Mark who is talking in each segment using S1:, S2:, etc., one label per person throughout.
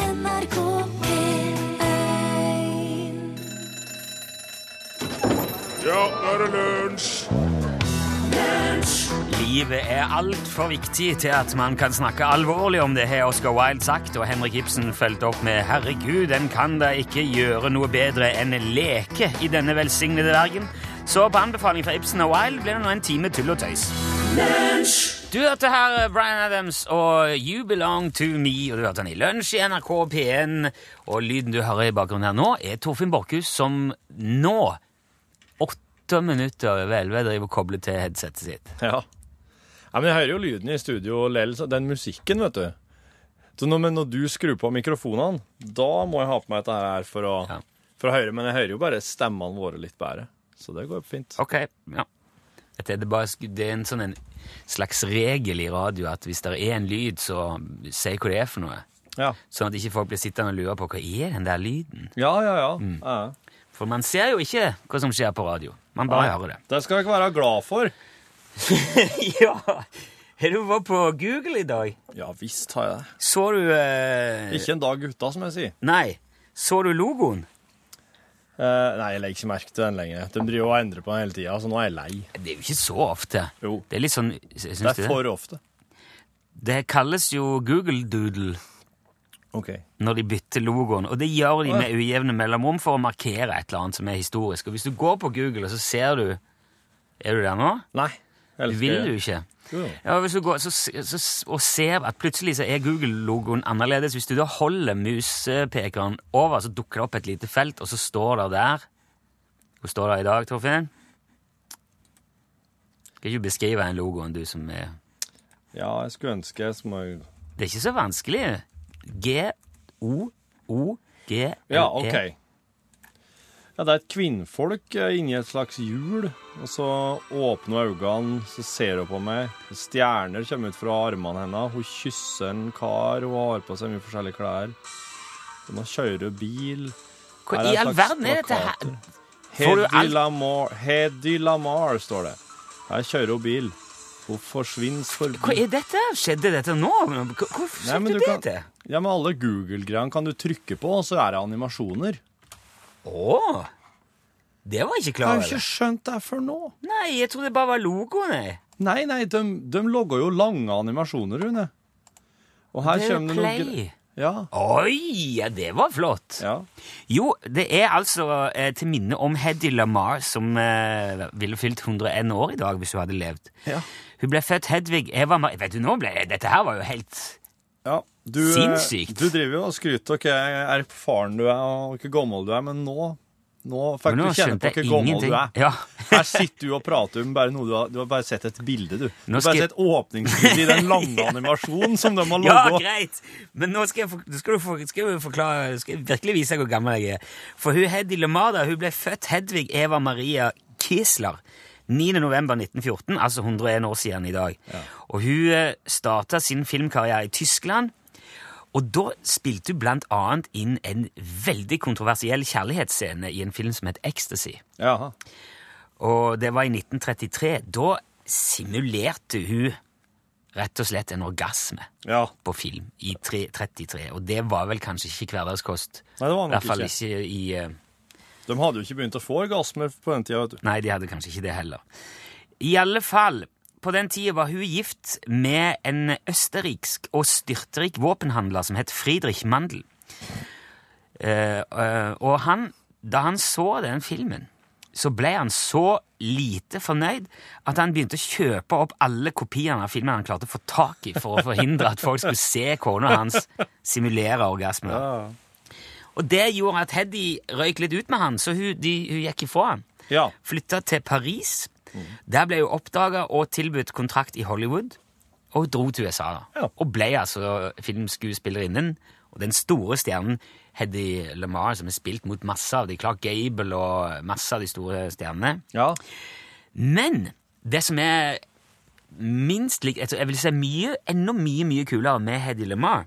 S1: NRK P1
S2: Ja, nå er det lunsj!
S3: Livet er altfor viktig til at man kan snakke alvorlig om det, har Oscar Wilde sagt, og Henrik Ibsen fulgte opp med 'Herregud, en kan da ikke gjøre noe bedre enn leke i denne velsignede verden'. Så på anbefaling fra Ibsen og Wilde blir det nå en time tull og tøys. Du hørte her eh, Bryan Adams og You Belong To Me, og du hørte han i lunsj i NRK P1. Og lyden du hører i bakgrunnen her nå, er Torfinn Borchhus, som nå, åtte minutter over elleve, driver og kobler til headsetet sitt.
S4: Ja. ja. Men jeg hører jo lyden i studio lell, så den musikken, vet du. Så når, men når du skrur på mikrofonene, da må jeg ha på meg dette her for å,
S3: Ja.
S4: for å høre. Men jeg hører jo bare stemmene våre litt bedre, så det går fint.
S3: Ok, ja. Dette er det, bare, sk- det er en sånn en slags regel i radio at hvis det er en lyd, så si hva det er for noe.
S4: Ja,
S3: Sånn at ikke folk blir sittende og lure på hva er den der lyden.
S4: ja, ja. ja.
S3: Mm.
S4: ja.
S3: For man ser jo ikke hva som skjer på radio. Man bare hører det.
S4: Det skal dere være glad for.
S3: ja! Har du vært på Google i dag?
S4: Ja visst har jeg det.
S3: Så du eh,
S4: Ikke en dag gutta, som jeg sier.
S3: Nei. Så du logoen?
S4: Eh, nei, jeg legger ikke merke til den lenger. De driver og endrer på den hele tida, så nå er jeg lei.
S3: Det er jo ikke så ofte.
S4: Jo.
S3: Det er litt sånn Syns
S4: Det
S3: du
S4: er
S3: det?
S4: for ofte.
S3: Det kalles jo Google Doodle.
S4: OK.
S3: når de bytter logoen. Og det gjør de med ujevne mellomrom for å markere et eller annet som er historisk. Og hvis du går på Google, og så ser du Er du der nå?
S4: Nei. jeg
S3: Du
S4: elsker-
S3: vil du ikke.
S4: Jo, jo.
S3: Ja, hvis du går så, så, og ser at plutselig så er Google-logoen annerledes. Hvis du da holder musepekeren over, så dukker det opp et lite felt, og så står det der Hvor står det i dag, Torfinn? Skal ikke beskrive den logoen, du som er
S4: Ja, jeg skulle ønske jeg som jeg
S3: Det er ikke så vanskelig. G-O-O-G-L-E.
S4: Ja, OK. Ja, det er et kvinnfolk eh, inni et slags hjul, og så åpner hun øynene, så ser hun på meg. Stjerner kommer ut fra armene hennes. Hun kysser en kar, hun har på seg mye forskjellige klær. Og nå kjører hun bil.
S3: Hva
S4: Her
S3: i
S4: en
S3: all
S4: slags
S3: verden er dette her?
S4: plakater.
S3: Får du
S4: Hedy
S3: alt-
S4: Lamar, Hedy Lamar, står det. Her kjører hun bil. Hun forsvinner
S3: Hva
S4: forbi.
S3: er dette? Skjedde dette nå? Hvor hvor
S4: Nei,
S3: skjedde
S4: men du
S3: det
S4: kan-
S3: til?
S4: Ja, men alle Google-greiene kan du trykke på, og så er det animasjoner.
S3: Å! Det var jeg ikke
S4: Jeg
S3: klar
S4: har jo ikke
S3: over.
S4: skjønt det før nå.
S3: Nei, jeg trodde det bare var logoen, jeg.
S4: Nei, nei, de, de logger jo lange animasjoner, Rune. Og her
S3: Det er
S4: kommer det noe
S3: Play.
S4: gre- Ja.
S3: Oi, ja, det var flott.
S4: ja.
S3: Jo, det er altså eh, til minne om Hedy Lamar, som eh, ville fylt 101 år i dag hvis hun hadde levd.
S4: Ja.
S3: Hun ble født Hedvig Eva Mar... Vet du, nå ble Dette her var jo helt
S4: ja. Du, eh,
S3: Sinnssykt.
S4: Du driver jo og skryter av hvor erfaren du er, og hvor gammel du er, men nå, nå fikk
S3: Nå
S4: du kjenne på hvor gammel du er.
S3: Ja.
S4: Her sitter du og prater om bare noe du har, du har bare sett et bilde, du. Du
S3: Nå
S4: har
S3: skal
S4: bare
S3: jeg-
S4: sett åpningsbildet i den lange animasjonen som de har
S3: Ja,
S4: logget.
S3: greit! Men nå skal jeg, for, skal du for, skal jeg forklare skal jeg virkelig vise hvor gammel jeg er. For hun Heddy Lamada hun ble født Hedvig Eva Maria Kisler 9. november 1914, altså 101 år siden i dag. Og hun eh, starta sin filmkarriere i Tyskland. Og da spilte hun blant annet inn en veldig kontroversiell kjærlighetsscene i en film som het Ecstasy.
S4: Jaha.
S3: Og det var i 1933. Da simulerte hun rett og slett en orgasme
S4: Ja.
S3: på film i tre- 33, og det var vel kanskje ikke hverdagskost.
S4: Nei, det var
S3: I
S4: nok
S3: hvert fall
S4: ikke.
S3: ikke i eh,
S4: De hadde jo ikke begynt å få orgasmer på den tida, vet du.
S3: Nei, de hadde kanskje ikke det heller. I alle fall, på den tida var hun gift med en østerriksk og styrtrik våpenhandler som het Friedrich Mandel. Eh, eh, og han, da han så den filmen, så ble han så lite fornøyd at han begynte å kjøpe opp alle kopiene av filmen han klarte å få tak i for å forhindre at folk skulle se kona hans simulere orgasmer. Og det gjorde at Heddy røyk litt ut med han, så hun, de, hun gikk ifra han
S4: Ja.
S3: flytta til Paris. Der ble hun oppdaga og tilbudt kontrakt i Hollywood. Og hun dro til USA da.
S4: Ja.
S3: og ble altså filmskuespillerinnen. Og den store stjernen Heddy Lamar, som har spilt mot masse av de, Clark Gable og masse av de store stjernene.
S4: Ja.
S3: Men det som er minst likt altså, Jeg vil si mye, enda mye, mye kulere med Heddy Lamar.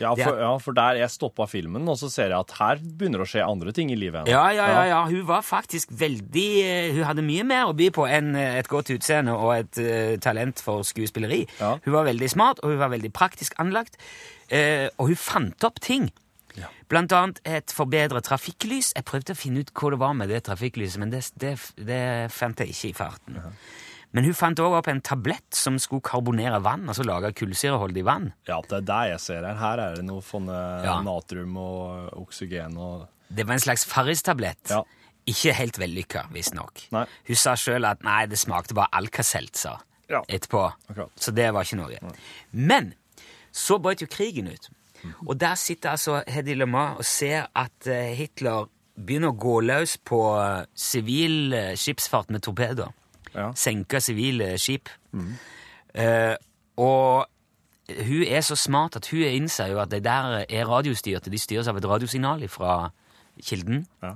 S4: Ja
S3: Det
S4: for,
S3: er-
S4: ja, for der jeg stoppa filmen, og så ser jeg at her begynner det å skje andre ting i livet hennes.
S3: Ja, ja, ja, ja. Hun var faktisk veldig eh, Hun hadde mye mer å by på enn eh, et godt utseende og et eh, talent for skuespilleri.
S4: Ja.
S3: Hun var veldig smart, og hun var veldig praktisk anlagt. eh, og hun fant opp ting Blant annet et forbedret trafikklys. Jeg prøvde å finne ut hva det var med det trafikklyset, men det, det, det fant jeg ikke i farten. Men hun fant også opp en tablett som skulle karbonere vann, altså lage kullsyreholdig vann.
S4: Ja, det er det jeg ser her. Her er det noe sånne
S3: Ja.
S4: natrium og oksygen og
S3: Det var en slags farristablett.
S4: Ja.
S3: Ikke helt vellykka, visstnok.
S4: Nei.
S3: Hun sa sjøl at nei, det smakte bare Alcacelt, sa
S4: Ja.
S3: etterpå.
S4: Akkurat.
S3: Så det var ikke noe. Men så brøt jo krigen ut. Og der sitter altså Hedy Lemar og ser at eh, Hitler begynner å gå løs på eh, sivil eh, skipsfart med torpedoer.
S4: Ja.
S3: Senke sivile skip. Eh, og hun er så smart at hun innser jo at de der er radiostyrte. De styres av et radiosignal fra kilden.
S4: Ja.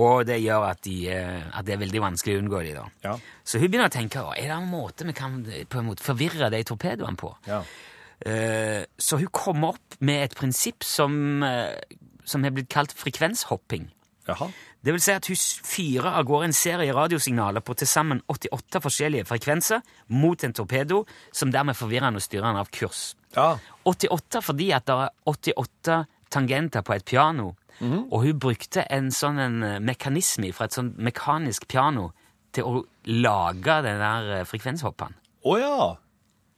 S3: Og det gjør at, de, eh, at det er veldig vanskelig å unngå de da.
S4: Ja.
S3: Så hun begynner å tenke, «Å, er det en måte vi kan eh, på en måte forvirre de torpedoene på?
S4: Ja.
S3: Eh, så hun kommer opp med et prinsipp som, eh, som er blitt kalt frekvenshopping.
S4: Jaha.
S3: Det vil si at hun s- fyrer av gårde en serie radiosignaler på til sammen 88 forskjellige frekvenser mot en torpedo, som dermed forvirrer han og styrer han av kurs.
S4: Ja.
S3: 88 fordi at det er 88 tangenter på et piano, og hun brukte en sånn en eh, mekanisme fra et sånn mekanisk piano til å lage den der eh, frekvenshoppen.
S4: Å ja!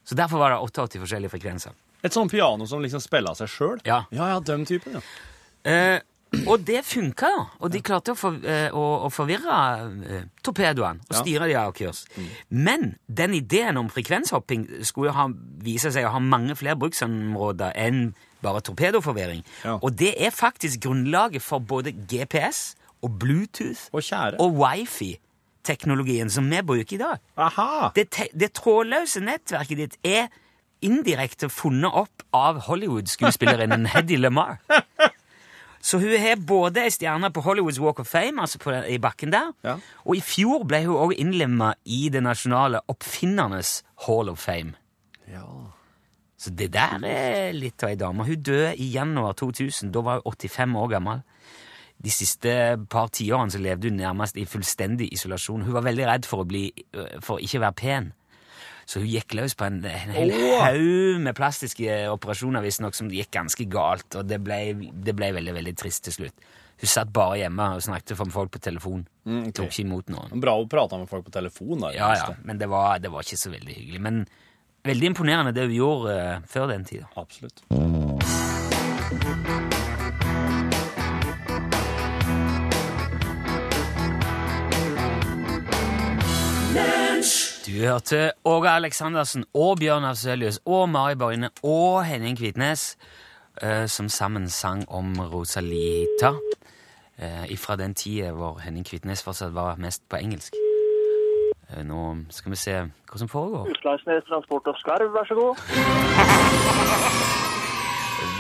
S3: Så derfor var det 88 forskjellige frekvenser.
S4: Et sånt piano som liksom spiller av seg sjøl?
S3: Ja.
S4: ja, ja, den typen, ja.
S3: Eh, og det funka, da. Og de klarte å, for, eh, å, å forvirre eh, torpedoene og
S4: Ja. Mm.
S3: styre de av kurs. Men den ideen om frekvenshopping skulle jo ha, vise seg å ha mange flere bruksområder enn bare torpedoforvirring.
S4: Ja.
S3: Og det er faktisk grunnlaget for både GPS og Bluetooth
S4: Og tjære.
S3: og wifi-teknologien som vi bruker i dag.
S4: Aha!
S3: Det, te det trådløse nettverket ditt er indirekte funnet opp av Hollywood-skuespillerinnen Hedy Lamar. Så hun har både ei stjerne på Hollywoods Walk of Fame, altså på den, i bakken der,
S4: Ja.
S3: og i fjor ble hun òg innlemma i det nasjonale Oppfinnernes Hall of Fame.
S4: Ja.
S3: Så det der er litt av ei dame. Hun døde i januar 2000. Da var hun 85 år gammel. De siste par tiårene så levde hun nærmest i fullstendig isolasjon. Hun var veldig redd for å bli, øh, for ikke å være pen. Så hun gikk løs på en, en hel
S4: Åh!
S3: haug med plastiske operasjoner visstnok som gikk ganske galt, og det ble, det ble veldig veldig trist til slutt. Hun satt bare hjemme og snakket med folk på telefon.
S4: Mm, ok.
S3: Tok ikke imot noen.
S4: Bra å prate med folk på telefon. Da, i det
S3: Ja, ja,
S4: minste.
S3: Men det var, det var ikke så veldig hyggelig. Men veldig imponerende det hun gjorde eh, før den tid. da.
S4: Absolutt.
S3: Du hørte Åge Aleksandersen og Bjørn Afselius og Mari Borgene og Henning Kvitnes eh, som sammen sang om Rosalita eh, ifra den tida hvor Henning Kvitnes fortsatt var mest på engelsk. Eh, nå skal vi se hva som foregår.
S1: Utslagsnes Transport og Skarv, vær så god.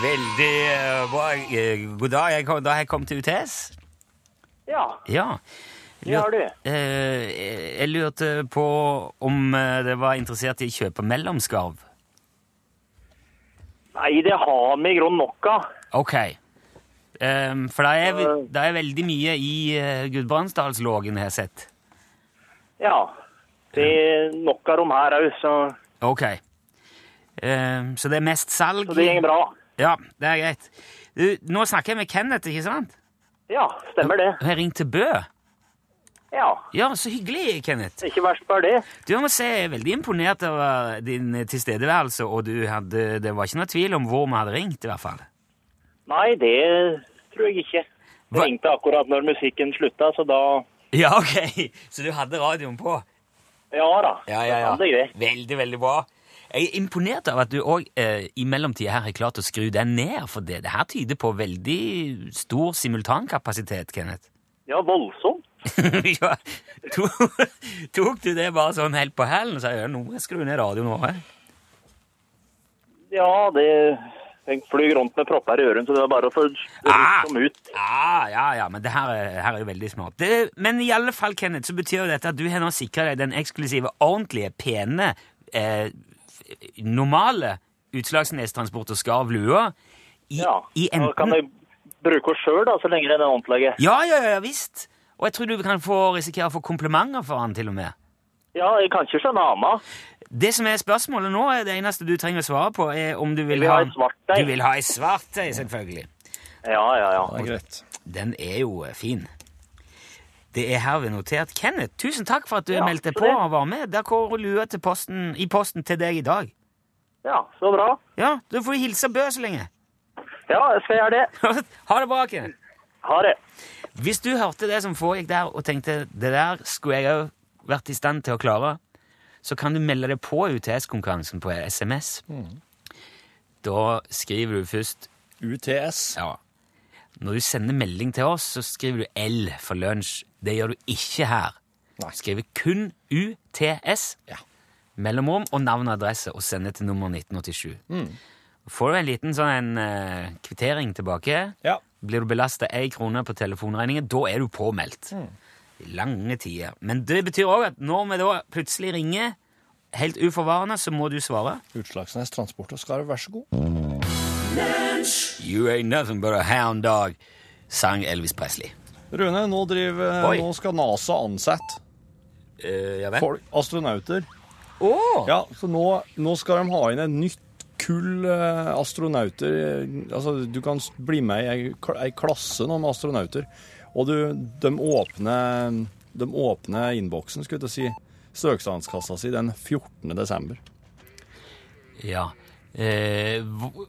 S3: Veldig eh, bra. god dag. da har jeg kommet til UTS.
S1: Ja,
S3: Ja.
S1: det har du.
S3: Eh, jeg lurte på om eh, det var interessert i å kjøpe mellomskarv.
S1: Nei, det har vi i grunnen nok av.
S3: Ok. Ehm, for det er, det er veldig mye i uh, Gudbrandsdalslågen, har jeg sett.
S1: Ja. Det er nok av rom her òg, så,
S3: Ok. Ehm, så det er mest salg?
S1: så det går bra.
S3: Ja, det er greit. Du, nå snakker jeg med Kenneth, ikke sant?
S1: Ja, stemmer det.
S3: Har jeg ringt til Bø?
S1: Ja,
S3: Ja, så hyggelig, Kenneth.
S1: det er ikke verst bare det.
S3: Du jeg må si, jeg er veldig imponert over din tilstedeværelse, og du hadde, det var ikke noe tvil om hvor vi hadde ringt, i hvert fall.
S1: Nei, det tror jeg ikke.
S3: Hva-
S1: Det ringte akkurat når musikken slutta, så da
S3: Ja, ok. Så du hadde radioen på?
S1: Ja da.
S3: Ja, ja,
S1: Det er
S3: ja.
S1: greit.
S3: Veldig, veldig bra. Jeg er imponert over at du òg eh, i mellomtida her har klart å skru deg ned, for det, det her tyder på veldig stor simultankapasitet, Kenneth.
S1: Ja, voldsomt.
S3: ja, tok, tok du det bare sånn helt på hælen og sa ja, nå må jeg skru ned radioen òg?
S1: Ja, det jeg flyr rundt med propper i ørene, så det er bare å få
S3: Ah!
S1: rutt dem ut.
S3: Ja, ja, ja, men det her er, her er jo veldig smart. Det, men i alle fall, Kenneth, så betyr jo dette at du har nå sikra deg den eksklusive, ordentlige, pene, eh, f- normale Utslagsnestransport og Skarv lua i,
S1: Ja.
S3: i
S1: Da
S3: enten
S1: kan jeg bruke oss sjøl, da, så lenge den er ordentlig.
S3: Ja, ja, ja, ja visst. Og jeg tror du kan få risikere å få komplimenter for han til og med.
S1: Ja, jeg kan ikke skjønne annet.
S3: Det som er spørsmålet nå, er det eneste du trenger å svare på, er om du vil
S1: vil
S3: ha
S1: ha ei svart ei.
S3: Du vil ha ei svart ei, selvfølgelig.
S1: Ja, ja, ja.
S4: Det er greit.
S3: Den er jo eh, fin. Det er herved notert. Kenneth, tusen takk for at du
S1: Ja,
S3: meldte
S1: så
S3: på
S1: det.
S3: og var med. Der går lua til posten, i posten til deg i dag.
S1: Ja, Så bra.
S3: Ja, du får hilse Bø så lenge.
S1: Ja, jeg skal gjøre det.
S3: ha det bra, Kenneth.
S1: Ha det.
S3: Hvis du hørte det som foregikk der og tenkte det der skulle jeg òg vært i stand til å klare, så kan du melde deg på UTS-konkurransen på SMS.
S1: Mm.
S3: Da skriver du først
S4: UTS.
S3: Ja. Når du sender melding til oss, så skriver du L for lunsj. Det gjør du ikke her.
S4: Nei.
S3: Skriver kun UTS,
S4: Ja.
S3: mellomrom og navn og adresse, og sender til nummer 1987.
S4: Mm.
S3: Får du en liten sånn en, eh, kvittering tilbake,
S4: Ja.
S3: blir du belasta én krone på telefonregningen, da er du påmeldt.
S4: Mm.
S3: I lange tider. Men det betyr òg at når vi da plutselig ringer, helt uforvarende, så må du svare.
S4: Utslagsnes Transport og Skarv, vær så god.
S3: You ain't nothing but a hound dog, sang Elvis Presley.
S4: Rune, nå, driver,
S3: Oi.
S4: nå skal NASA ansette
S3: Eh, ja vel?
S4: folk, astronauter.
S3: Åh!
S4: Ja, så nå, nå skal de ha inn et nytt kull eh, astronauter. Altså, du kan s- bli med i ei, kl- ei klasse nå med astronauter. Og du, de åpner, de åpner innboksen, skulle jeg til å si, søknadskassa si den 14. desember.
S3: Ja. Eh, hvor-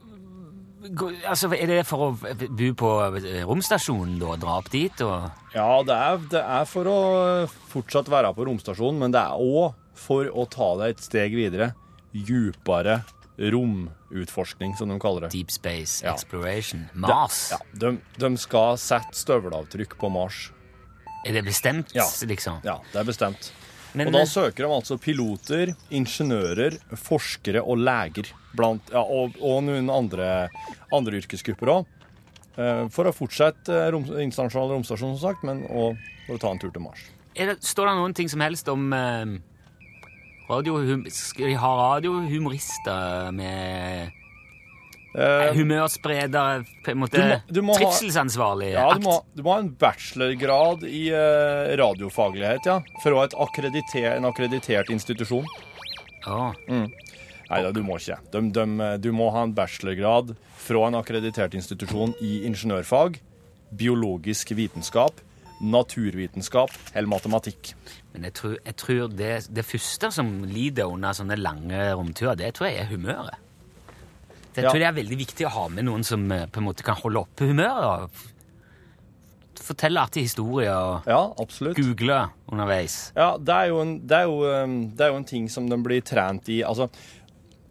S3: gå- altså, er det for å bo på eh, romstasjonen, da? Dra opp dit og
S4: Ja, det er, det er for å eh, fortsatt være på romstasjonen, men det er òg for å ta det et steg videre. Djupere romutforskning, som de kaller det.
S3: Deep Space
S4: Ja.
S3: Exploration? Mars?
S4: Ja, de, de skal sette støvelavtrykk på Mars.
S3: Er det bestemt,
S4: Ja.
S3: liksom?
S4: Ja, det er bestemt.
S3: Men,
S4: og da
S3: eh,
S4: søker de altså piloter, ingeniører, forskere og leger. Blant, ja, og, og noen andre, andre yrkesgrupper òg. For å fortsette eh, rom, internasjonal romstasjon, som sagt, men òg for å ta en tur til Mars.
S3: er det, står det noen ting som helst om eh, radiohum... Skal de ha radiohumorister med
S4: Eh,
S3: humørspredere, på en måte
S4: du må- du må ha-
S3: trivselsansvarlig
S4: Ja, du
S3: akt?
S4: må, du må ha en bachelorgrad i eh, radiofaglighet, ja. Fra et akkrediter, en akkreditert institusjon.
S3: Åh.
S4: Nei da, du må ikke. De, de, eh, du må ha en bachelorgrad fra en akkreditert institusjon i ingeniørfag, biologisk vitenskap, naturvitenskap eller matematikk.
S3: Men jeg tror, jeg tror det, det første som lider under sånne lange romturer, det tror jeg er humøret. Jeg
S4: Ja.
S3: tror det er veldig viktig å ha med noen som eh, på en måte kan holde oppe humøret. og f- Fortelle artige historier og
S4: Ja, absolutt.
S3: google underveis.
S4: Ja, det er jo en, det er jo, um, det er jo en ting som de blir trent i. Altså,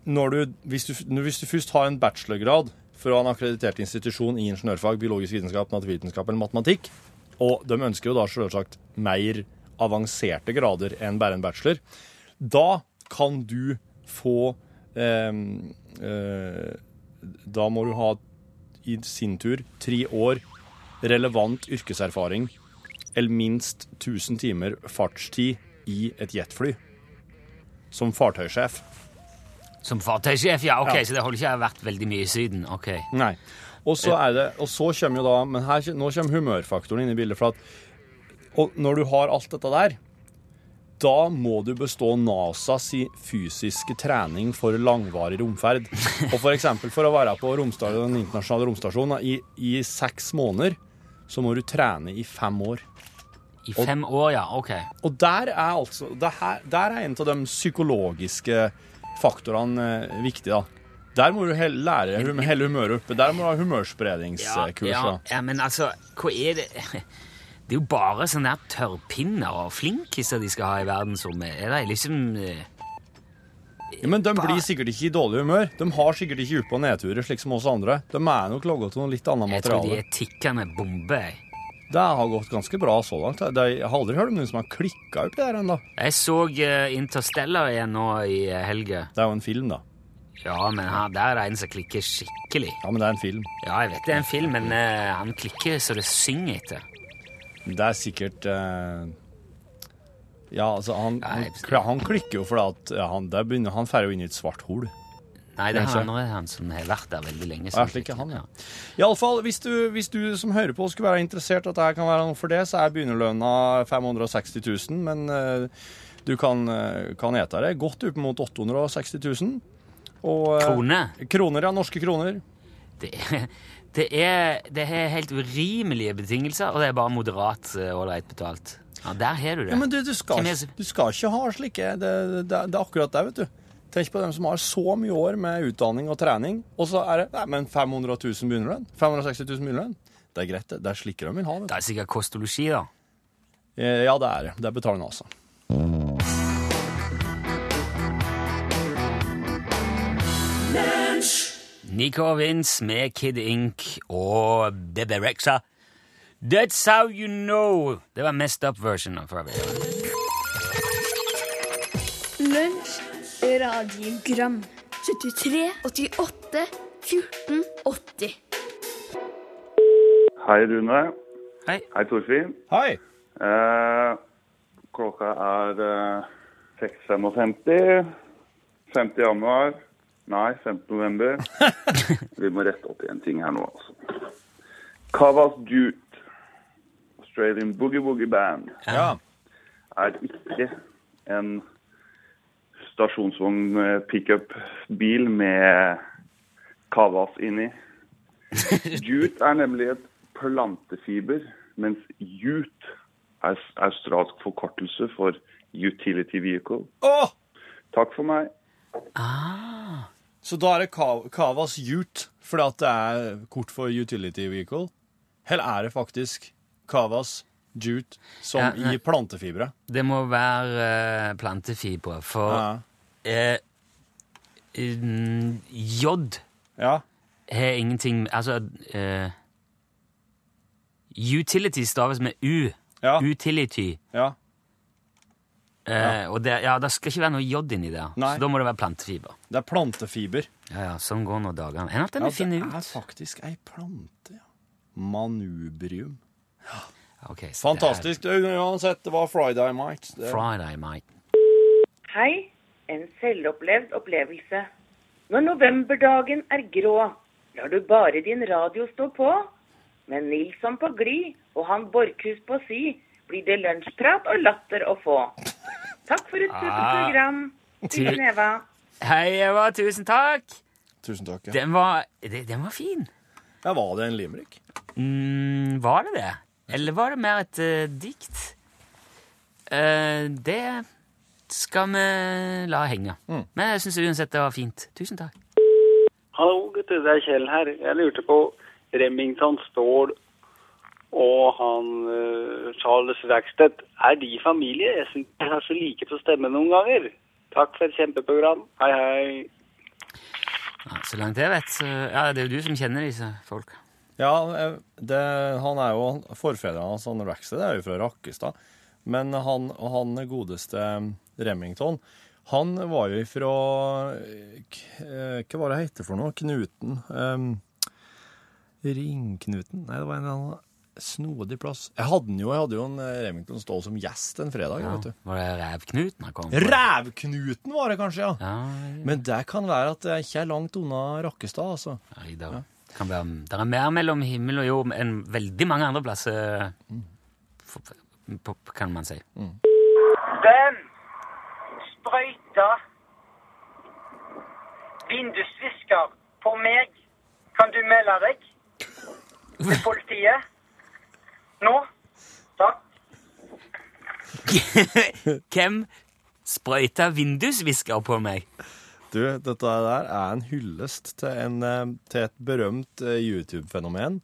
S4: når du, hvis, du, når- hvis du først har en bachelorgrad fra en akkreditert institusjon i ingeniørfag, biologisk vitenskap, naturvitenskap eller matematikk, og de ønsker jo da selvsagt mer avanserte grader enn bare en bachelor, da kan du få um, eh, Da må du ha i sin tur tre år relevant yrkeserfaring eller minst 1000 timer fartstid i et jetfly. Som fartøysjef.
S3: Som fartøysjef, ja. Ok,
S4: Ja.
S3: så det holder ikke jeg har vært veldig mye i Syden. Ok.
S4: Nei. Og så er det, og så kommer jo da, men her, kje- nå kommer humørfaktoren inn i bildet. For at, og når du har alt dette der, da må du bestå NASA si fysiske trening for langvarig romferd. Og for eksempel for å være på romsta- den internasjonale romstasjonen da, i, i seks måneder, så må du trene i fem år.
S3: I fem år, ja. Ok.
S4: Og der er altså det her, Der er en av de psykologiske faktorene eh, viktig, da. Der må du hel- lære hum hele humøret oppe. Der må du ha
S3: Ja,
S4: humørspredningskurs.
S3: ja,
S4: Ja.
S3: ja, men altså, hva er det Det er jo bare sånne her tørrpinner og flinkiser de skal ha i verdensrommet. Er det liksom eh,
S4: Ja, men de blir sikkert ikke i dårlig humør. De har sikkert ikke opp- og nedturer, slik som oss andre. De er nok laga av noe litt annet
S3: Jeg tror de
S4: materiale.
S3: er tikkende bomber. jeg. Det
S4: Det har gått ganske bra så langt. De- Jeg har aldri hørt om noen som har klikka opp der ennå.
S3: Jeg så eh, Interstellar igjen nå i eh, helga.
S4: Det er jo en film, da.
S3: Ja, men her, der er det en som klikker skikkelig.
S4: Ja, men det er en film.
S3: Ja, jeg vet det er en film, men eh, han klikker så det synger etter.
S4: Det er sikkert eh, Ja, altså, han,
S3: Nei,
S4: han, kl- han klikker jo fordi at ja, han, der begynner, han fer jo inn i et svart hull.
S3: Nei, det er
S4: Kanskje.
S3: han andre han som har vært der veldig lenge.
S4: Ja,
S3: som
S4: slik er han,
S3: klikker.
S4: ja. Iallfall, hvis, du- hvis du som hører på skulle være interessert at dette kan være noe for det, så er begynnerlønna 560 000, men eh, du kan, eh, kan ete det godt opp mot 860 000. Og, eh,
S3: Krone.
S4: Kroner, ja. Norske kroner.
S3: Det, er- Det er, det er helt urimelige betingelser, og det er bare moderat eh, ålreit betalt. Ja, Der har du det.
S4: Ja, men du, du, skal,
S3: Hvem er
S4: ikke-
S3: det-
S4: du skal ikke ha slike det, det, det er akkurat det, vet du. Tenk på dem som har så mye år med utdanning og trening, og så er det nei, men 500 000 begynnerlønn. 560 000 begynnerlønn. Det er greit, det. Det er slike de vil ha. Vet du.
S3: Det er sikkert kost og losji, da.
S4: Eh, Ja, det er det. Det betaler altså. NASA.
S3: Nico Vince med Kid Ink og Bebe Rexha. That's how you know. Det var messed up version av Forever. Young.
S5: Lunsj Radiogram 73 88 14 80
S6: Hei, Rune.
S3: Hei.
S6: Hei, Torfinn.
S4: Hei!
S6: Eh, klokka er eh, 6.55. 5. januar. Nei, 5. november. Vi må rette opp i en ting her nå, altså. Kavas Jute, Australian Boogie Woogie Band,
S4: Ja.
S6: er ikke en stasjonsvogn eh, pickup-bil med Kavas inni. Jute er nemlig et plantefiber, mens jute er s- australsk forkortelse for utility vehicle.
S4: Åh!
S6: Takk for meg.
S4: Så da er det Ka- Kavas Ute, fordi at det er kort for Utility Vehicle. Eller er det faktisk Kavas Jute som
S3: Ja, nei.
S4: i plantefibre?
S3: Det må være eh, plantefibre, for
S4: Ja.
S3: eh, mm, Jod
S4: ja.
S3: har ingenting Altså eh, Utility staves med U.
S4: Ja.
S3: Utility.
S4: ja.
S3: Eh, Og det, ja, det skal ikke være noe jod inni der,
S4: Nei.
S3: så da må det være plantefiber.
S4: Det er plantefiber.
S3: Ja, ja, Sånn går nå dagene. Enn at
S4: Ja,
S3: en finner
S4: Det er
S3: ut.
S4: faktisk ei plante, ja. Manubrium.
S3: Ok, så det er
S4: Fantastisk. Det er- Uansett, det var Friday Night. Det-
S3: Friday, Mike.
S7: Hei, en selvopplevd opplevelse. Når novemberdagen er grå, lar du bare din radio stå på. Med Nilsson på glid og han Borkhus på si, blir det lunsjprat og latter å få. Takk for et supert
S3: Ah.
S7: program.
S3: Til-
S7: Tusen Eva.
S3: Hei, Eva. Tusen takk.
S4: Tusen takk. Ja.
S3: Den var, de- den var fin.
S4: ja, var det en limerick?
S3: Mm, var det det? Eller var det mer et eh, dikt? Eh, det skal vi la henge.
S4: Mm.
S3: Men jeg syns uansett det var fint. Tusen takk.
S8: Hallo, gutter. Det er Kjell her. Jeg lurte på Remington Ståhl og han eh, Charles Rackstedt. Er de familie? Jeg syns de er så like på stemmen noen ganger. Takk for et kjempeprogram. Hei, hei.
S3: Ja, så langt jeg vet, så Ja, det er jo du som kjenner disse folka.
S4: Ja, eh, det, han er jo forfedrene hans, han Rackstead, er jo fra Rakkestad. Men han, han godeste Remington, han var jo fra eh, Hva var det hette for noe? Knuten? Um, Ringknuten? Nei, det var en eller annen snodig plass. Jeg hadde, den jo, jeg hadde jo en eh, Remington Ståhl som gjest en fredag.
S3: Ja,
S4: vet du.
S3: var det Rævknuten han kom fra?
S4: Rævknuten var det kanskje, ja.
S3: Ja,
S4: Men det kan være at jeg ikke er langt unna Rakkestad, altså.
S3: Reidar. Kan være, det er mer mellom himmel og jord enn veldig mange andre plasser,
S4: Mm.
S3: for- på- kan man si.
S9: Den sprøyta vindusvisker på meg. Kan du melde deg til politiet? Nå? Takk.
S3: Hvem sprøyta vindusvisker på meg?
S4: Du, dette der er en hyllest til, en, eh, til et berømt eh, YouTube-fenomen.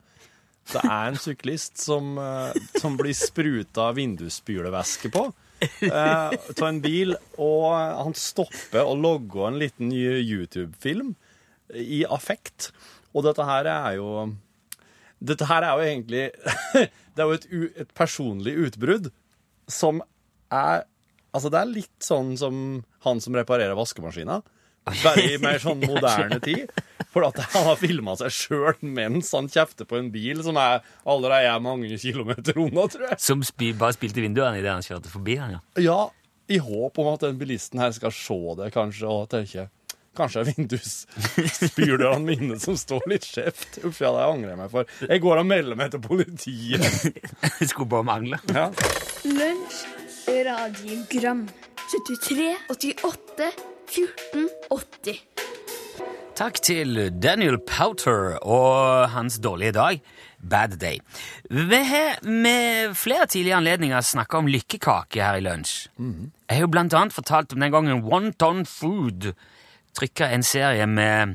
S4: Det er en syklist som, eh, som blir spruta vindusspylevæske på eh, av en bil, og han stopper og logger en liten ny YouTube-film i affekt. Og dette her er jo Dette her er jo egentlig Det er jo et, u, et personlig utbrudd som er Altså, det er litt sånn som han som reparerer vaskemaskina. Bare i mer sånn moderne tid. For at han har filma seg sjøl mens han kjefter på en bil som er allerede er mange kilometer unna, tror jeg.
S3: Som spi, bare spilte vinduene idet han kjørte forbi han, ja.
S4: Ja, i håp om at den bilisten her skal se det, kanskje, og tenke Kanskje det er vindusspyldørene mine som står litt skjevt. Uff, ja, det angrer jeg meg for. Jeg går og melder meg til politiet.
S3: Det skulle bare mangle.
S4: Ja.
S5: Lunsj Radiogram 73 88 14 80
S3: Takk til Daniel Powter og hans dårlige dag, Bad Day. Vi har med flere tidlige anledninger snakka om lykkekake her i lunsj. Jeg har jo blant annet fortalt om den gangen One Ton Food trykka en serie med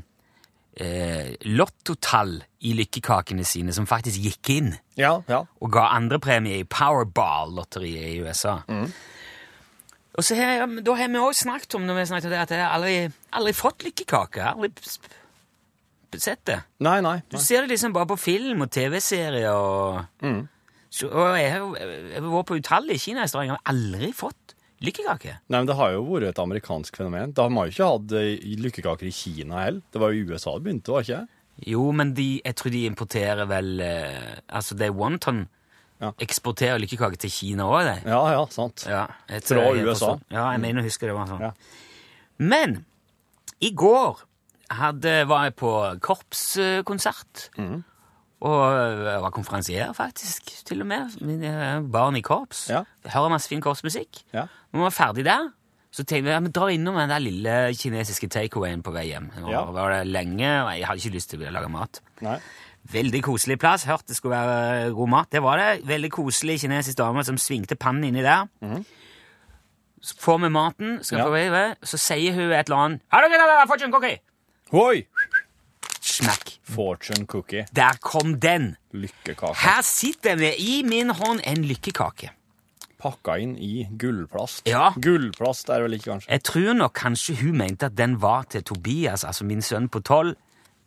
S3: eh, lottotall i lykkekakene sine som faktisk gikk inn,
S4: Ja, ja.
S3: og ga andrepremie i Powerball-lotteriet i USA.
S4: Mm.
S3: Og så har, da har vi også snakket om når vi har snakket om det, at jeg har aldri, aldri fått lykkekake. Jeg har Aldri sp- sett det.
S4: Nei, nei.
S3: Du
S4: nei.
S3: ser det liksom bare på film og TV-serier og
S4: Mm.
S3: så, Og jeg har jo- jeg har vært på utallige kinarestauranter og aldri fått lykkekake.
S4: Nei, men Det har jo vært et amerikansk fenomen. Da har man jo ikke hatt eh, lykkekaker i Kina heller. Det var jo i USA det begynte, var det ikke?
S3: Jo, men de, jeg tror de importerer vel eh, Altså, det er Wonton
S4: Ja.
S3: eksporterer lykkekake til Kina òg, det.
S4: Ja, ja, sant.
S3: Ja, jeg
S4: Fra
S3: tror jeg
S4: USA.
S3: forstår. Ja, jeg mener å huske det var sånn.
S4: Ja.
S3: Men i går hadde, var jeg på korpskonsert.
S4: Mm.
S3: Og jeg var konferansier, faktisk, til og med. Min, eh, Barn i korps.
S4: Ja.
S3: Jeg Hører masse fin korpsmusikk.
S4: Ja.
S3: Når vi var ferdig der, så tenkte jeg ja, vi drar innom den der lille kinesiske takeawayen på vei hjem. Nå
S4: Ja.
S3: var det lenge, og jeg hadde ikke lyst til å lage mat.
S4: Nei.
S3: Veldig koselig plass. Hørt det skulle være eh, god mat. Det var det. Veldig koselig kinesisk dame som svingte pannen inni der. Så får vi maten, skal
S4: Ja.
S3: på vei, vei, så sier hun et eller annet «Har dere noe fortune cookie?»
S4: Oi!
S3: Smekk.
S4: Fortune cookie.
S3: Der kom den!
S4: Lykkekake.
S3: Her sitter vi i min hånd en lykkekake.
S4: Pakka inn i gullplast.
S3: Ja.
S4: Gullplast er det vel ikke, kanskje?
S3: Jeg tror nok kanskje hun mente at den var til Tobias, altså min sønn på tolv,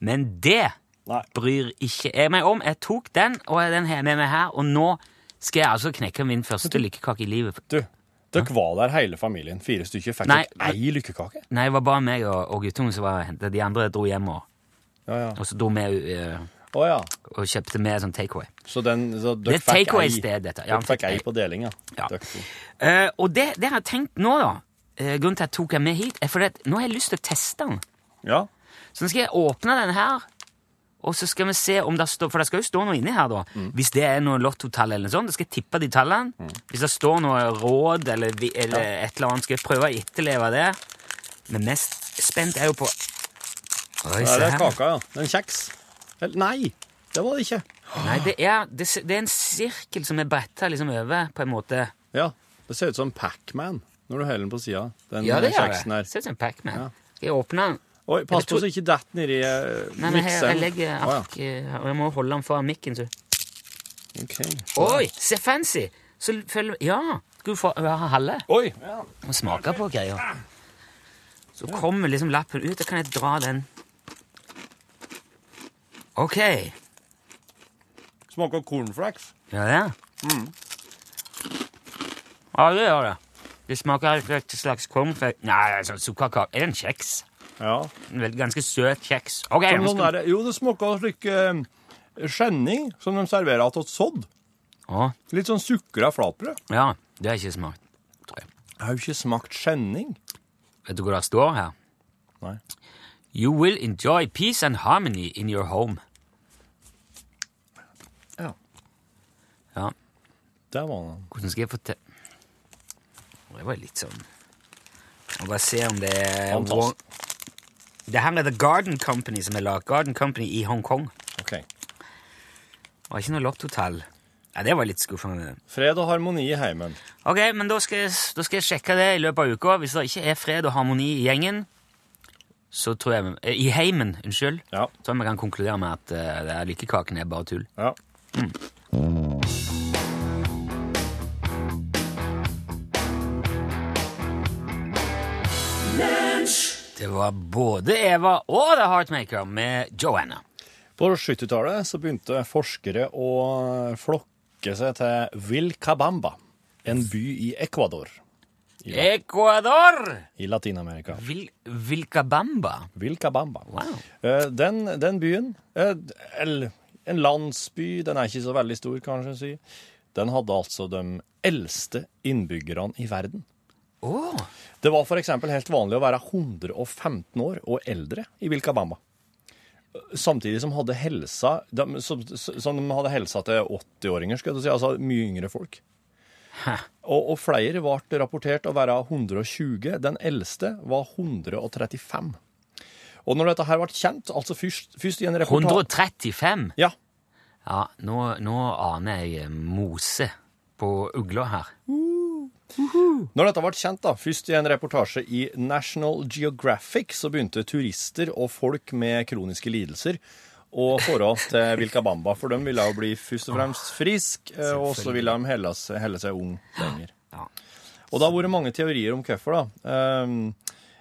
S3: men det
S4: Nei.
S3: bryr ikke jeg meg om. Jeg tok den, og den har jeg med meg her, og nå skal jeg altså knekke min første lykkekake i livet.
S4: Du, dere var der hele familien. Fire stykker. Fikk
S3: Nei,
S4: dere ei lykkekake?
S3: Nei, det var bare meg og, og guttungen som var hentet. De andre dro hjem, og,
S4: Ja, ja.
S3: og så dro vi eh,
S4: Å ja.
S3: og kjøpte med sånn takeaway.
S4: Så, den, så
S3: Det
S4: dere
S3: er
S4: fikk ei
S3: takeaway-sted, dette. Ja,
S4: Dere fikk ei på deling, ja.
S3: Ja.
S4: Dere to.
S3: Eh, og det, det har jeg tenkt nå, da. eh, grunnen til at jeg tok den med hit, er fordi at nå har jeg lyst til å teste den.
S4: ja.
S3: Så nå skal jeg åpne den her, og så skal vi se om det står For det skal jo stå noe inni her, da.
S4: Mm.
S3: Hvis det er noe lottotall eller noe sånt. Da skal jeg tippe de tallene. Hvis det står noe råd eller, vi- eller et eller annet, skal jeg prøve å etterleve det. Men mest spent er jo på Oi,
S4: Der er kaka, ja. En kjeks. Eller, nei, det var det ikke.
S3: Nei, det er, det, s- det er en sirkel som er bretta liksom over, på en måte.
S4: Ja, Det ser ut som Pac-Man når du heller den på sida. Den
S3: Ja, det gjør det.
S4: kjeksen her.
S3: Ser ut som en Pac-Man.
S4: Ja.
S3: Skal jeg åpne den?
S4: Oi, pass
S3: Jeg tror-
S4: på så ikke detter nedi eh,
S3: Nei, men jeg,
S4: mikseren.
S3: jeg legger
S4: Å, ja.
S3: ark eh, her, og Jeg må holde den foran mikken, så
S4: Ok.
S3: Oi, se fancy! Så følger Ja! Skal du få ha halve?
S4: Oi! Ja.
S3: Og smake på greia. Så kommer liksom lappen ut, da kan jeg dra den. OK.
S4: Smaker cornflakes.
S3: Ja, det. Mm. Ja, det gjør det. Det smaker et slags cornflakes Nei, altså, sukkerkake. Er det en kjeks?
S4: Ja.
S3: En veldig ganske søt kjeks. Ok,
S4: Som
S3: nå
S4: sånn
S3: skal...
S4: der, jo, det smaker slik eh, skjenning som de serverer til sodd.
S3: Å,
S4: Litt sånn sukra flatbrød.
S3: ja, det er ikke smart, tror jeg.
S4: Jeg har jo ikke smakt skjenning.
S3: Vet du hva det står her?
S4: Nei.
S3: You will enjoy peace and harmony in your home.
S4: Ja.
S3: Ja,
S4: Det var den.
S3: hvordan skal jeg få til... Det var litt sånn... Jeg må bare se om det er...
S4: Fantastisk.
S3: Det her er The Garden Company som er laget. Garden Company i Hongkong.
S4: Ok.
S3: Det var ikke noe lottotall. Ja, det var litt skuffende.
S4: Fred og harmoni i heimen.
S3: Ok, men da skal, jeg, da skal jeg sjekke det i løpet av uka. Hvis det ikke er fred og harmoni i gjengen, så tror jeg eh, I heimen, unnskyld.
S4: Ja.
S3: Så vi kan konkludere med at eh, det er lykkekaken er bare tull.
S4: Ja.
S3: Det var både Eva og The Heartmaker med Joanna.
S4: På 70-tallet så begynte forskere å flokke seg til Vilcabamba, en by i Ecuador Ja.
S3: Ecuador!
S4: i Latin-Amerika.
S3: Vil, Vilcabamba.
S4: Vilcabamba.
S3: Mm. Wow.
S4: Eh, Den, den byen, eh, eller en landsby, den er ikke så veldig stor, kanskje, si. den hadde altså de eldste innbyggerne i verden.
S3: Åh,
S4: Det var f.eks. helt vanlig å være 115 år og eldre i Vilcabamba. Samtidig som, hadde helsa, de, som, som de hadde helsa til 80-åringer, skulle jeg si, altså mye yngre folk. Og, og flere ble rapportert å være 120. Den eldste var 135. Og når dette her ble kjent, altså først, først i en reportasje
S3: 135?
S4: Ja.
S3: Ja, nå, nå aner jeg eh, mose på ugla her.
S4: Når dette ble kjent, da, først i en reportasje i National Geographic, så begynte turister og folk med kroniske lidelser å forhold til Vilcabamba, for de ville jo bli først og fremst frisk, eh, og så ville de helle seg, helle seg ung lenger.
S3: Ja.
S4: Og det har vært mange teorier om hvorfor, da. Ehm,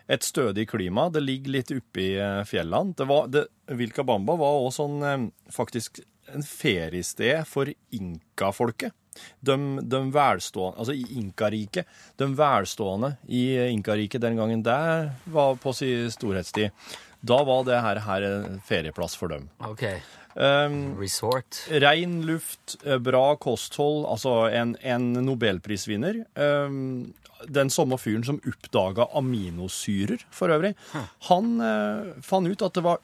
S4: Et stødig klima, det ligger litt oppi eh, fjellene. Det var, det, Vilcabamba var også sånn, eh, faktisk en feriested for inkafolket de, de velstående, altså i Inkariket, de velstående i Inkariket den gangen der var på sin storhetstid, da var det her, her en ferieplass for dem.
S3: Ok.
S4: Um,
S3: Resort.
S4: Rein luft, eh, bra kosthold, altså en, en nobelprisvinner. Um, den samme fyren som oppdaga aminosyrer, for øvrig. Han eh, fant ut at det var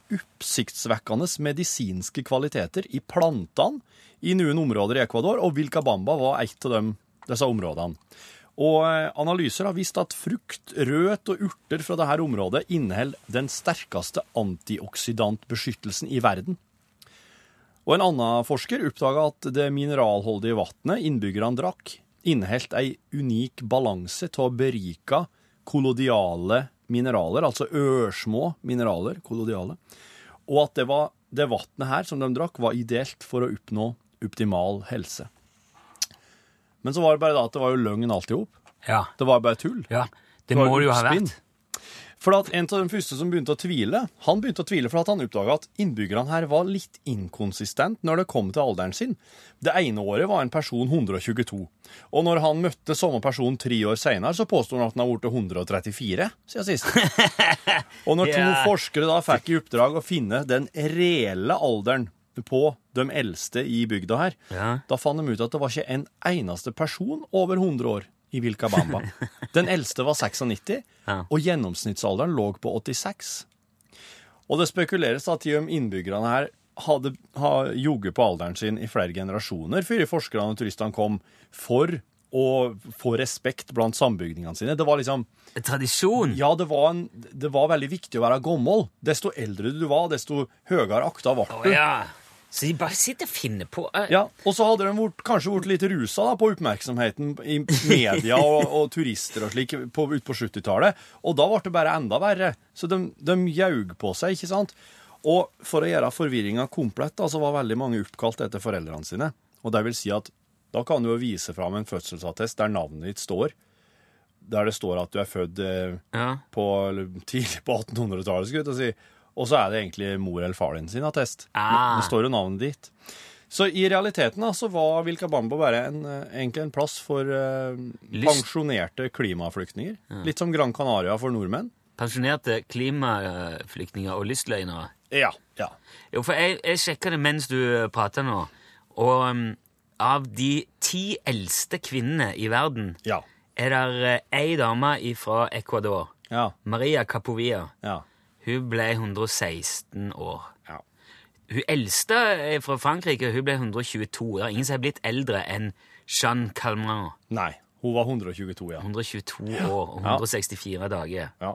S4: oppsiktsvekkende medisinske kvaliteter i plantene i noen områder i Ecuador, og Vilcabamba var et av dem, disse områdene. Og eh, analyser har vist at frukt, rødt og urter fra dette området inneholder den sterkeste antioksidantbeskyttelsen i verden. Og en annen forsker oppdaga at det mineralholdige vannet innbyggerne drakk, inneholdt ei unik balanse av berika kollodiale mineraler, altså ørsmå mineraler, kollodiale, og at det, var, det vannet her som de drakk, var ideelt for å oppnå optimal helse. Men så var det bare da at det var jo løgn alt i hop.
S3: Ja.
S4: Det var bare tull.
S3: ja. Det
S4: Det var
S3: må det jo ha
S4: oppspinn.
S3: vært.
S4: For at En av de første som begynte å tvile, han begynte å tvile for at han oppdaga at innbyggerne her var litt inkonsistent når det kom til alderen sin. Det ene året var en person 122, og når han møtte samme person tre år seinere, så påsto han at han hadde blitt 134 siden sist. Og når to
S3: Ja.
S4: forskere da fikk i oppdrag å finne den reelle alderen på de eldste i bygda her,
S3: Ja.
S4: da fant de ut at det var ikke en eneste person over 100 år i Vilcabamba. Den eldste var 96,
S3: Ja.
S4: og gjennomsnittsalderen lå på 86. Og det spekuleres at de om innbyggerne her hadde ha- jugget på alderen sin i flere generasjoner før forskerne og turistene kom for å få respekt blant sambygdingene sine. Det var liksom
S3: Tradisjon.
S4: Ja, det var, en, det var veldig viktig å være gammel. Desto eldre du var, desto høyere akta ble
S3: Å
S4: du.
S3: ja. Så de bare sitter og finner på eh,
S4: Ja, og så hadde de vært, kanskje vært litt rusa da, på oppmerksomheten i media og, og turister og slik på, ut på 70-tallet, og da ble det bare enda verre. Så de, de jaug på seg, ikke sant? Og for å gjøre forvirringa komplett, da, så var veldig mange oppkalt etter foreldrene sine. Og det vil si at da kan du jo vise fram en fødselsattest der navnet ditt står, der det står at du er født eh,
S3: ja.
S4: på, eller tidlig på 1800-tallet, skulle jeg til å si. Og så er det egentlig mor eller far din sin attest.
S3: Ah.
S4: Det står jo navnet ditt. Så i realiteten da, så var Vilcabamba bare en, eh, egentlig en plass for eh,
S3: Lyst.
S4: pensjonerte klimaflyktninger. Litt som Gran Canaria for nordmenn.
S3: Pensjonerte klimaflyktninger og lystløgnere.
S4: Ja. ja.
S3: Jo, for jeg, jeg sjekka det mens du prata nå, og um, av de ti eldste kvinnene i verden
S4: Ja.
S3: er det ei dame fra Ecuador,
S4: Ja.
S3: Maria Capovia.
S4: Ja.
S3: Hun ble 116 år.
S4: Ja.
S3: Hun eldste er fra Frankrike, hun ble 122. Det er ingen som er blitt eldre enn Jeanne Calment.
S4: Nei. Hun var
S3: Mm.
S4: 122, ja.
S3: 122 år og 164 dager.
S4: Ja.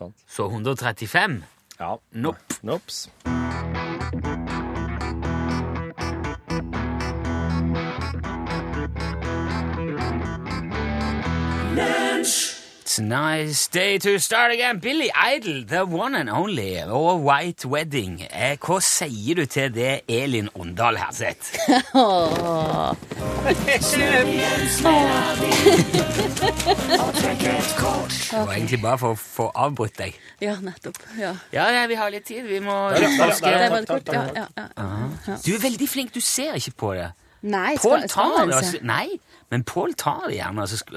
S4: Sant.
S3: Så 135?
S4: Ja.
S3: Nope.
S4: Nops.
S3: Tonight's day to start again. Billy Idol, the one and only, og White Wedding. Eh, Hva sier du til det Elin Åndal her sett? Det var egentlig bare for å få avbrutt deg.
S10: Ja, nettopp. Ja.
S3: Ja, ja, vi har litt tid. Vi må
S10: Det
S3: utforske
S10: var kort. Ja, ja, ja.
S3: Du er veldig flink. Du ser ikke på det.
S10: Nei,
S3: Pål
S10: skal, skal
S3: tar
S10: man
S3: det.
S10: se?
S3: altså- Nei, men Pål tar det gjerne. altså, sk-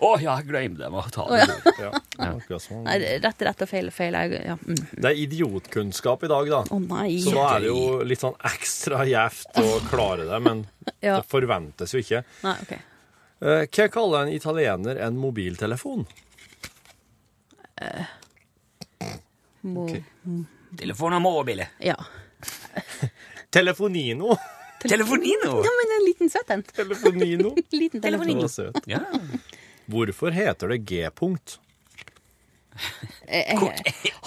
S3: Å ja. jeg glemte det. Å ta det. du.
S4: Ja. Akkurat sånn.
S10: Nei, rett er rett og feil er feil. er- Ja. mm.
S4: Det er idiotkunnskap i dag, da.
S10: Å nei.
S4: Så da er det jo litt sånn ekstra gjevt å klare det, men
S10: Ja.
S4: det forventes jo ikke.
S10: Nei, ok.
S4: Eh, Hva kaller en italiener en mobiltelefon?
S10: Mo
S3: Telefon og mobile.
S10: Ja.
S4: Telefonino.
S3: Telefonino!
S10: ja. Men en liten søt en.
S4: Telefonino.
S10: Liten telefon.
S4: Det var søt.
S3: Ja.
S4: Hvorfor heter det G-punkt?
S10: Eh, eh,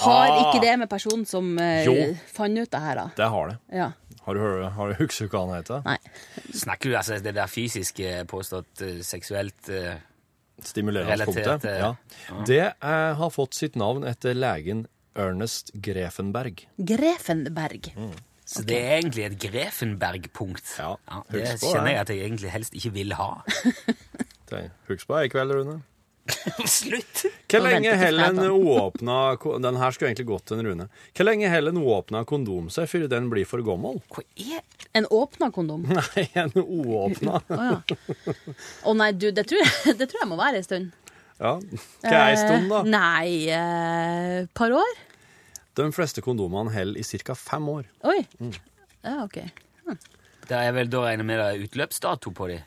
S10: Har
S4: Ah.
S10: ikke det med personen som eh,
S4: Jo.
S10: fant ut det her, da?
S4: Det har det.
S10: Ja.
S4: Har du, hørt- har du husket hva han heter?
S10: Nei.
S3: Snakker du altså det der fysiske, påstått eh, seksuelt eh,
S4: Stimulerende
S3: Relatert,
S4: punktet.
S3: eh,
S4: Ja. Det eh, har fått sitt navn etter legen Ernest Grefenberg.
S10: Grefenberg.
S3: Så det er egentlig et Grefenberg-punkt. Ja, det
S4: husk på
S3: kjenner
S4: det.
S3: jeg at jeg egentlig helst ikke vil ha.
S4: Det- Husk på det i kveld, Rune.
S3: Slutt!
S4: Hvor
S3: Nå venter
S4: lenge
S3: ikke
S4: holder en
S3: flere,
S4: uåpna ko- Den her skulle egentlig gått til en Rune. Hvor lenge holder en uåpna kondom seg før den blir for gammel?
S10: En åpna kondom? Å
S4: Nei, en uåpna.
S10: ja. Å nei, du, det tror, jeg, det tror jeg må være ei stund.
S4: Ja. Hva er ei stund,
S10: Eh,
S4: da?
S10: Nei, eh, par år.
S4: De fleste kondomene holder i ca. fem år.
S10: Oi.
S4: Mm.
S10: Ja, OK.
S3: Det er vel da regner jeg med det er utløpsdato på de.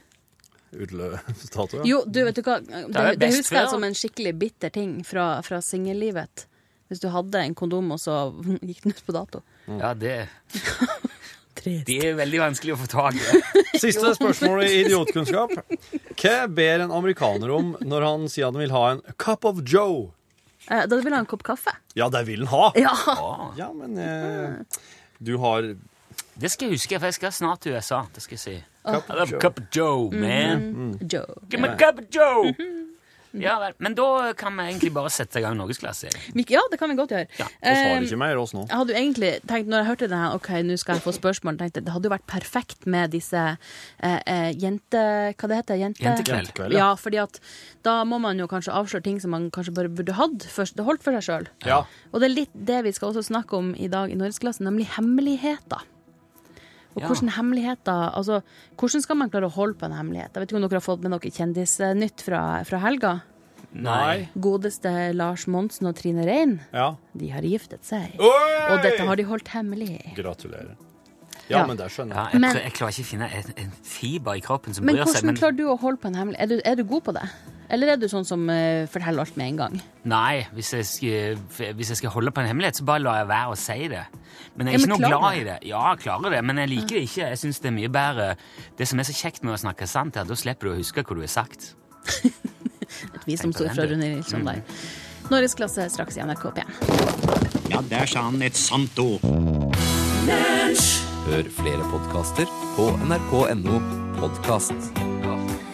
S4: Utløpsdato,
S10: Jo, du, vet du hva? Det, det,
S3: er best før,
S10: husker
S3: da.
S10: jeg som en skikkelig bitter ting fra, fra singellivet. Hvis du hadde en kondom, og så gikk den ut på dato.
S3: Ja, det De er veldig vanskelig å få tak i.
S4: Siste spørsmål i idiotkunnskap. Hva ber en amerikaner om når han sier han vil ha en cup of joe?
S10: Eh, Da ville jeg ha en kopp kaffe.
S4: Ja, det vil han ha!
S10: Ja.
S4: Ja, men
S10: Ah.
S4: eh, du har
S3: Det skal jeg huske, for jeg skal snart til USA. Ah. Det skal jeg si.
S4: Cup
S3: I love Cup of Joe, man.
S10: Joe.
S3: Give me a cup of Joe! Ja vel. Men da kan vi egentlig bare sette i gang norgesklasse. egentlig.
S10: Mik- Ja, det kan vi godt gjøre.
S4: Vi har ikke mer oss nå.
S3: Eh,
S10: Jeg hadde jo egentlig tenkt, når jeg hørte det her, ok, nå skal jeg få spørsmål, tenkte jeg, det hadde jo vært perfekt med disse eh, eh, jente... Hva det heter? Jente...
S3: Jentekveld.
S4: Jentekveld,
S10: Ja.
S4: ja.
S10: fordi at da må man jo kanskje avsløre ting som man kanskje bare burde hatt, først, det holdt for seg selv.
S4: Ja.
S10: Og det er litt det vi skal også snakke om i dag i Norgesklassen, nemlig hemmeligheter. Og
S3: Ja.
S10: hvordan hemmeligheter, altså, hvordan skal man klare å holde på en hemmelighet? Jeg vet ikke om dere har fått med noe kjendisnytt fra, fra helga.
S3: Nei.
S10: Godeste Lars Monsen og Trine Rein,
S4: Ja.
S10: de har giftet seg.
S4: Oi!
S10: Og dette har de holdt hemmelig.
S4: Gratulerer. Ja,
S10: Ja.
S4: men det skjønner
S3: Ja,
S4: jeg.
S3: jeg,
S10: Men-
S3: prø- jeg klarer ikke å finne en, en fiber i kroppen som
S10: Men
S3: bryr seg.
S10: hvordan klarer du å holde på en hemmelig? Er du, er du god på det? Eller er du sånn som eh, forteller alt med en gang?
S3: Nei, hvis jeg, skal, hvis jeg skal holde på en hemmelighet, så bare lar jeg være å si det. Men jeg er
S10: Ja,
S3: ikke
S10: men
S3: noe
S10: klarer
S3: glad
S10: du
S3: i det. Ja, jeg klarer det, men jeg liker det ikke. Jeg synes det er mye bedre Det som er så kjekt med å snakke sant, er at da slipper du å huske hva du har sagt.
S10: Et visdomsord
S3: Tenk på den,
S10: fra
S3: du.
S10: Rune Nilsson sånn
S3: Mm.
S10: der. Norgesklasse straks i NRK P1.
S11: Ja, der sa han et sant ord.
S12: Hør flere podkaster på nrk.no podkast.